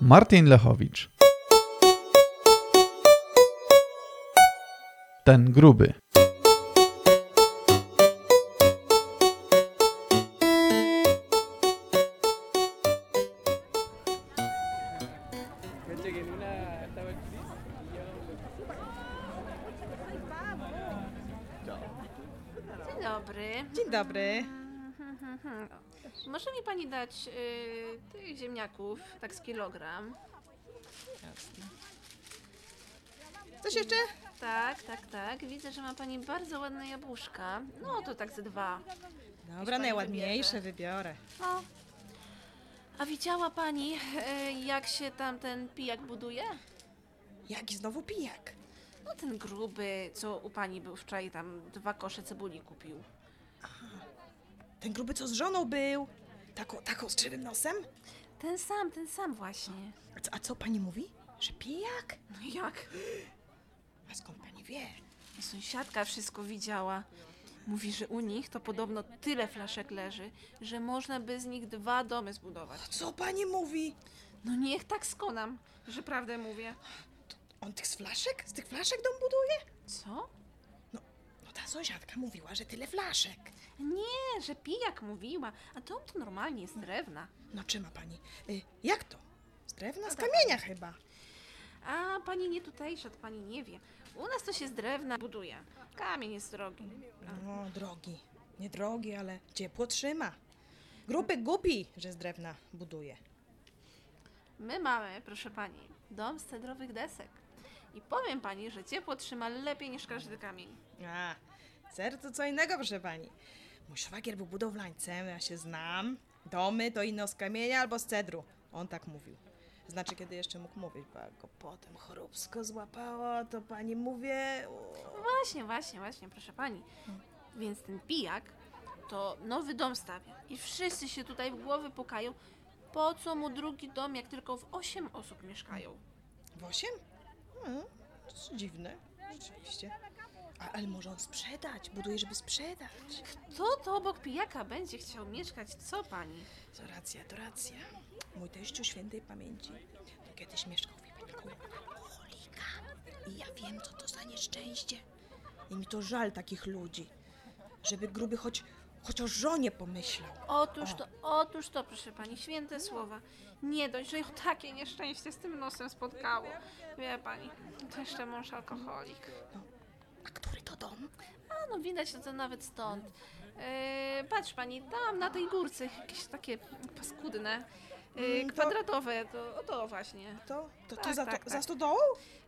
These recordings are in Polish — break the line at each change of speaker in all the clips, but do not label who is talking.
Martin Lechowicz. Ten gruby.
Dzień dobry.
Dzień dobry.
Może mi pani dać y, tych ziemniaków, tak z kilogram?
Coś jeszcze?
Tak, tak, tak. Widzę, że ma pani bardzo ładne jabłuszka. No to tak ze dwa.
Dobra, najładniejsze wybiorę.
No. A widziała pani, y, jak się tam ten pijak buduje?
Jaki znowu pijak?
No ten gruby, co u pani był wczoraj, tam dwa kosze cebuli kupił.
Ten gruby, co z żoną był? Taką, taką z krzywym nosem?
Ten sam, ten sam właśnie.
A co, a co pani mówi? Że pijak?
No jak?
A skąd pani wie?
Sąsiadka wszystko widziała. Mówi, że u nich to podobno tyle flaszek leży, że można by z nich dwa domy zbudować.
Co pani mówi?
No niech tak skonam, że prawdę mówię.
On tych z flaszek? Z tych flaszek dom buduje?
Co?
No ta sąsiadka mówiła, że tyle flaszek.
Nie, że pijak mówiła, a dom to normalnie jest drewna.
No czy ma pani? Y, jak to? Z
No
drewna? Z
tak.
kamienia chyba.
A pani nie tutejsza, to pani nie wie. U nas to się z drewna buduje. Kamień jest drogi.
No, drogi. Nie drogi, ale ciepło trzyma. Grupy głupi, że z drewna buduje.
My mamy, proszę pani, dom z cedrowych desek. I powiem pani, że ciepło trzyma lepiej niż każdy kamień.
A, cer to co innego, proszę pani. Mój szwagier był budowlańcem, ja się znam. Domy to ino z kamienia albo z cedru. On tak mówił. Znaczy, kiedy jeszcze mógł mówić, bo jak go potem chorobsko złapało, to pani mówię... o,
Właśnie, właśnie, właśnie, proszę pani. Więc ten pijak to nowy dom stawia. I wszyscy się tutaj w głowy pukają, po co mu drugi dom, jak tylko w osiem osób mieszkają.
W osiem? Hmm, to jest dziwne, rzeczywiście. A, ale może on sprzedać, buduje, żeby sprzedać.
Kto to obok pijaka będzie chciał mieszkać? Co pani?
To racja, to racja. Mój teściu świętej pamięci to kiedyś mieszkał w Wiepniku alkoholika. I ja wiem, co to za nieszczęście. I mi to żal takich ludzi. Żeby gruby choć, choć o żonie pomyślał.
Otóż to, otóż to, proszę pani, święte słowa. Nie dość, że ją takie nieszczęście z tym nosem spotkało. Wie pani, to jeszcze mąż alkoholik.
A który to dom?
A no widać to nawet stąd. Yy, patrz pani, tam na tej górce jakieś takie paskudne, yy,
Mm, to-
kwadratowe, to, o, to właśnie.
To, to, to
Tak,
za,
tak,
to,
tak.
za stodołą?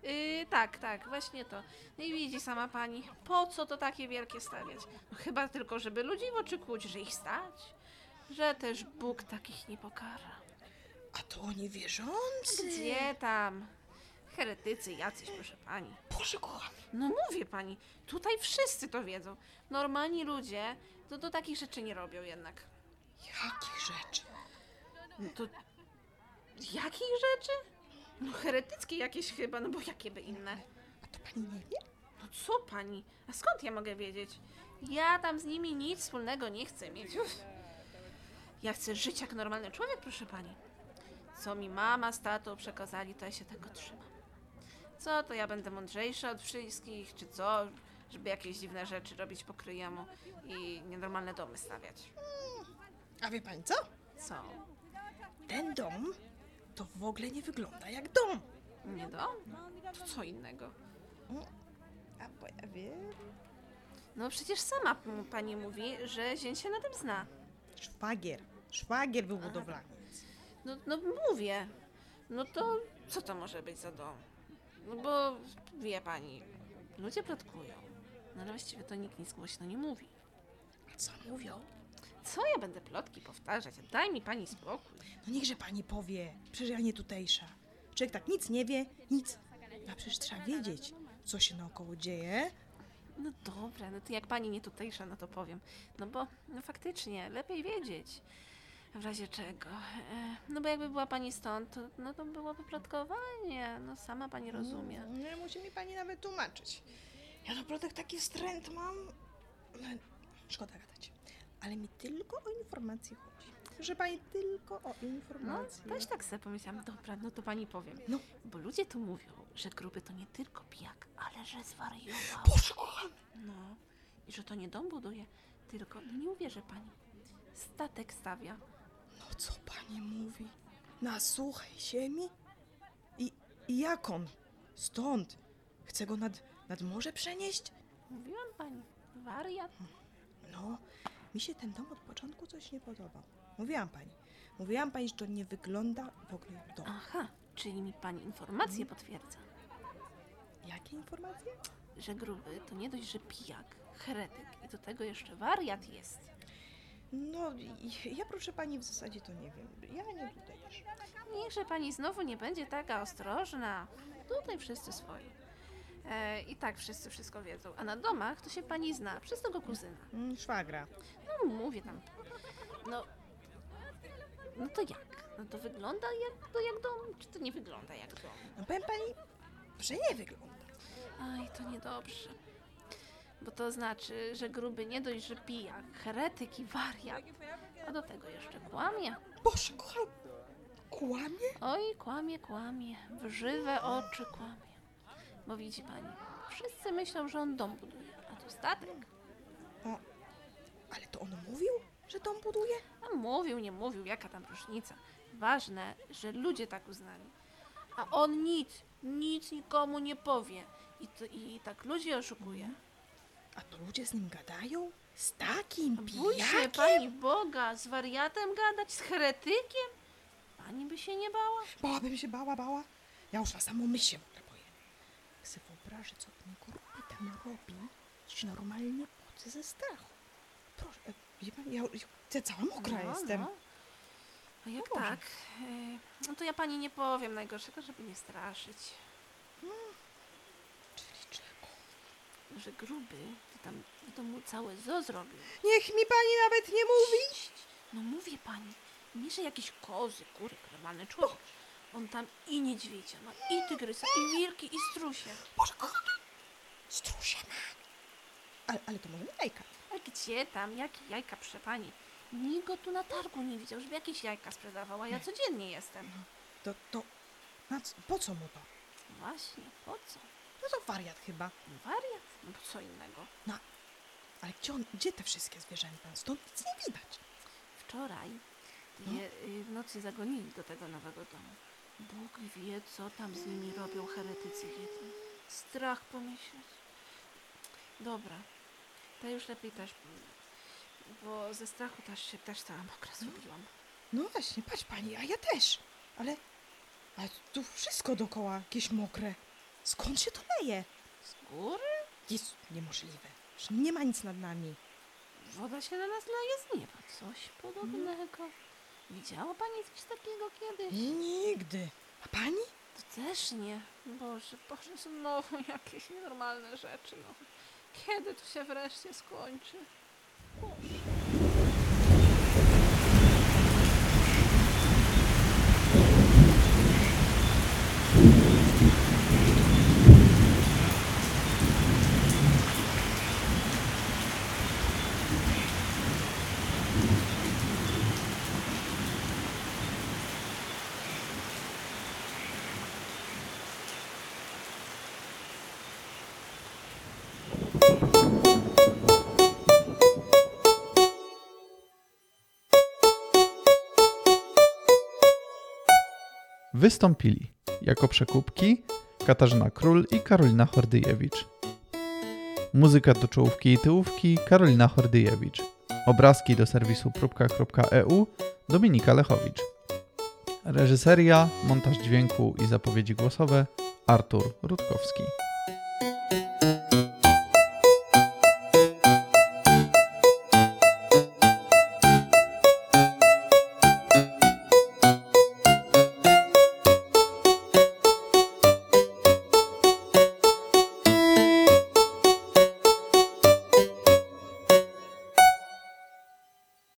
Yy, tak, tak, właśnie to. No i widzi sama pani, po co to takie wielkie stawiać? No, chyba tylko, żeby ludzi w oczy kłuć, że ich stać. Że też Bóg takich nie pokara.
A to oni wierzący.
Gdzie tam? Heretycy jacyś, proszę pani.
Boże kocham.
No mówię pani, tutaj wszyscy to wiedzą. Normalni ludzie to do takich rzeczy nie robią jednak.
Jakich rzeczy?
No to jakich rzeczy? No heretyckie jakieś chyba, no bo jakie by inne?
A to pani nie wie?
No co pani? A skąd ja mogę wiedzieć? Ja tam z nimi nic wspólnego nie chcę mieć. Uff. Ja chcę żyć jak normalny człowiek, proszę pani. Co mi mama z tatą przekazali, to ja się tego trzymam. Co, to ja będę mądrzejsza od wszystkich, czy co? Żeby jakieś dziwne rzeczy robić po kryjemu i nienormalne domy stawiać.
A wie pani co?
Co?
Ten dom to w ogóle nie wygląda jak dom.
Nie dom? To co innego?
A bo ja wiem.
No przecież sama m- pani mówi, że zięć się na tym zna.
Szwagier. Szwagier był budowlaniec.
No, no mówię. No to co to może być za dom? No bo wie pani, ludzie plotkują. No ale właściwie to nikt nic głośno nie mówi.
A co mówią?
Co ja będę plotki powtarzać? Daj mi pani spokój.
No niechże pani powie, przecież ja nie tutejsza. Człowiek tak nic nie wie, nic. A przecież trzeba wiedzieć, co się naokoło dzieje.
No dobra, no to jak pani nie tutejsza, no to powiem. No bo no faktycznie, lepiej wiedzieć. W razie czego? E, No bo jakby była pani stąd, to, no to byłoby plotkowanie. No sama pani rozumie.
Nie Mm, no, musi mi pani nawet tłumaczyć. Ja naprawdę taki wstręt mam. No, Szkoda gadać. Ale mi tylko o informacje chodzi. Proszę pani tylko o
No,
informację.
też tak sobie pomyślałam, dobra, no to pani powiem.
No.
Bo ludzie tu mówią, że gruby to nie tylko pijak, ale że zwariował. No. I że to nie dom buduje, tylko, no nie uwierzę pani, statek stawia.
No co pani mówi? Na suchej ziemi? I, i jak on? Stąd? Chce go nad, nad morze przenieść?
Mówiłam pani, wariat.
No, mi się ten dom od początku coś nie podobał. Mówiłam pani. Mówiłam pani, że to nie wygląda w ogóle jak dom.
Aha, czyli mi pani
Mhm.
informację potwierdza,
Jakie informacje?
że gruby to nie dość, że pijak, heretyk i do tego jeszcze wariat jest.
No, i- ja proszę pani, w zasadzie to nie wiem. Ja nie tutaj też.
Niechże pani znowu nie będzie taka ostrożna. Tutaj wszyscy swoi. E, I tak wszyscy wszystko wiedzą. A na domach to się pani zna, przez tego kuzyna.
Mm, szwagra.
No mówię tam. No. No to jak? No to wygląda jak, to jak dom, czy to nie wygląda jak dom?
No powiem pani, że nie wygląda.
Aj, to niedobrze. Bo to znaczy, że gruby nie dość, że pijak, heretyk i wariat, a do tego jeszcze kłamie.
Boże, kochany, kłamie?
Oj, kłamie, kłamie, w żywe oczy kłamie. Bo widzi pani, wszyscy myślą, że on dom buduje, a to statek.
A, ale to on mówił, że dom buduje?
A mówił, nie mówił, jaka tam różnica. Ważne, że ludzie tak uznali. A on nic, nic nikomu nie powie. I, to, i tak ludzi oszukuje.
A to ludzie z nim gadają? Z takim
A Bój się
pijakiem?
pani Boga, z wariatem gadać, z heretykiem? Pani by się nie bała?
Bałabym się, bała, bała. Ja już na samą myśl się w ogóle boję. Jak sobie wyobrażę, co ten kurwa tam robi, iż normalnie płacę ze strachu. Proszę, e, wie pani, ja, ja, ja cała mokra jestem.
No, A jak
Boże.
tak? e, No to ja pani nie powiem najgorszego, żeby nie straszyć.
Czyli czego?
Że gruby, to tam w domu całe zo zrobił.
Niech mi pani nawet nie mówi!
No mówię pani, nie że jakiś kozy, kury, normalny człowiek. On tam i niedźwiedzia ma, i tygrysa, i wilki, i strusie.
Boże, kochana! Strusiana! Ale, ale to może nie lejka.
A gdzie tam, jakie jajka, proszę pani? Nikt go tu na targu nie widział, żeby jakieś jajka sprzedawała. Ja codziennie jestem.
To, to, na co, po co mu to?
Właśnie, po co?
No to wariat chyba.
No Wariat? No bo co innego?
No, ale gdzie on, gdzie te wszystkie zwierzęta? Stąd nic nie widać.
Wczoraj je y, w nocy zagonili do tego nowego domu. Bóg wie, co tam z nimi robią heretycy jedni. Strach pomyśleć. Dobra, to już lepiej też, bo ze strachu też się też cała mokra zrobiłam.
No właśnie, patrz pani, a ja też. Ale, ale tu wszystko dookoła jakieś mokre. Skąd się to leje?
Z góry?
Jest niemożliwe. Że nie ma nic nad nami.
Woda się na nas leje z nieba. Coś podobnego. Widziała pani coś takiego kiedyś?
Nigdy. A pani?
To też nie. Boże, Boże, znowu jakieś nienormalne rzeczy. No. Kiedy to się wreszcie skończy? Boże.
Wystąpili jako przekupki Katarzyna Król i Karolina Hordyjewicz. Muzyka do czołówki i tyłówki Karolina Hordyjewicz. Obrazki do serwisu próbka.eu Dominika Lechowicz. Reżyseria, montaż dźwięku i zapowiedzi głosowe Artur Rutkowski.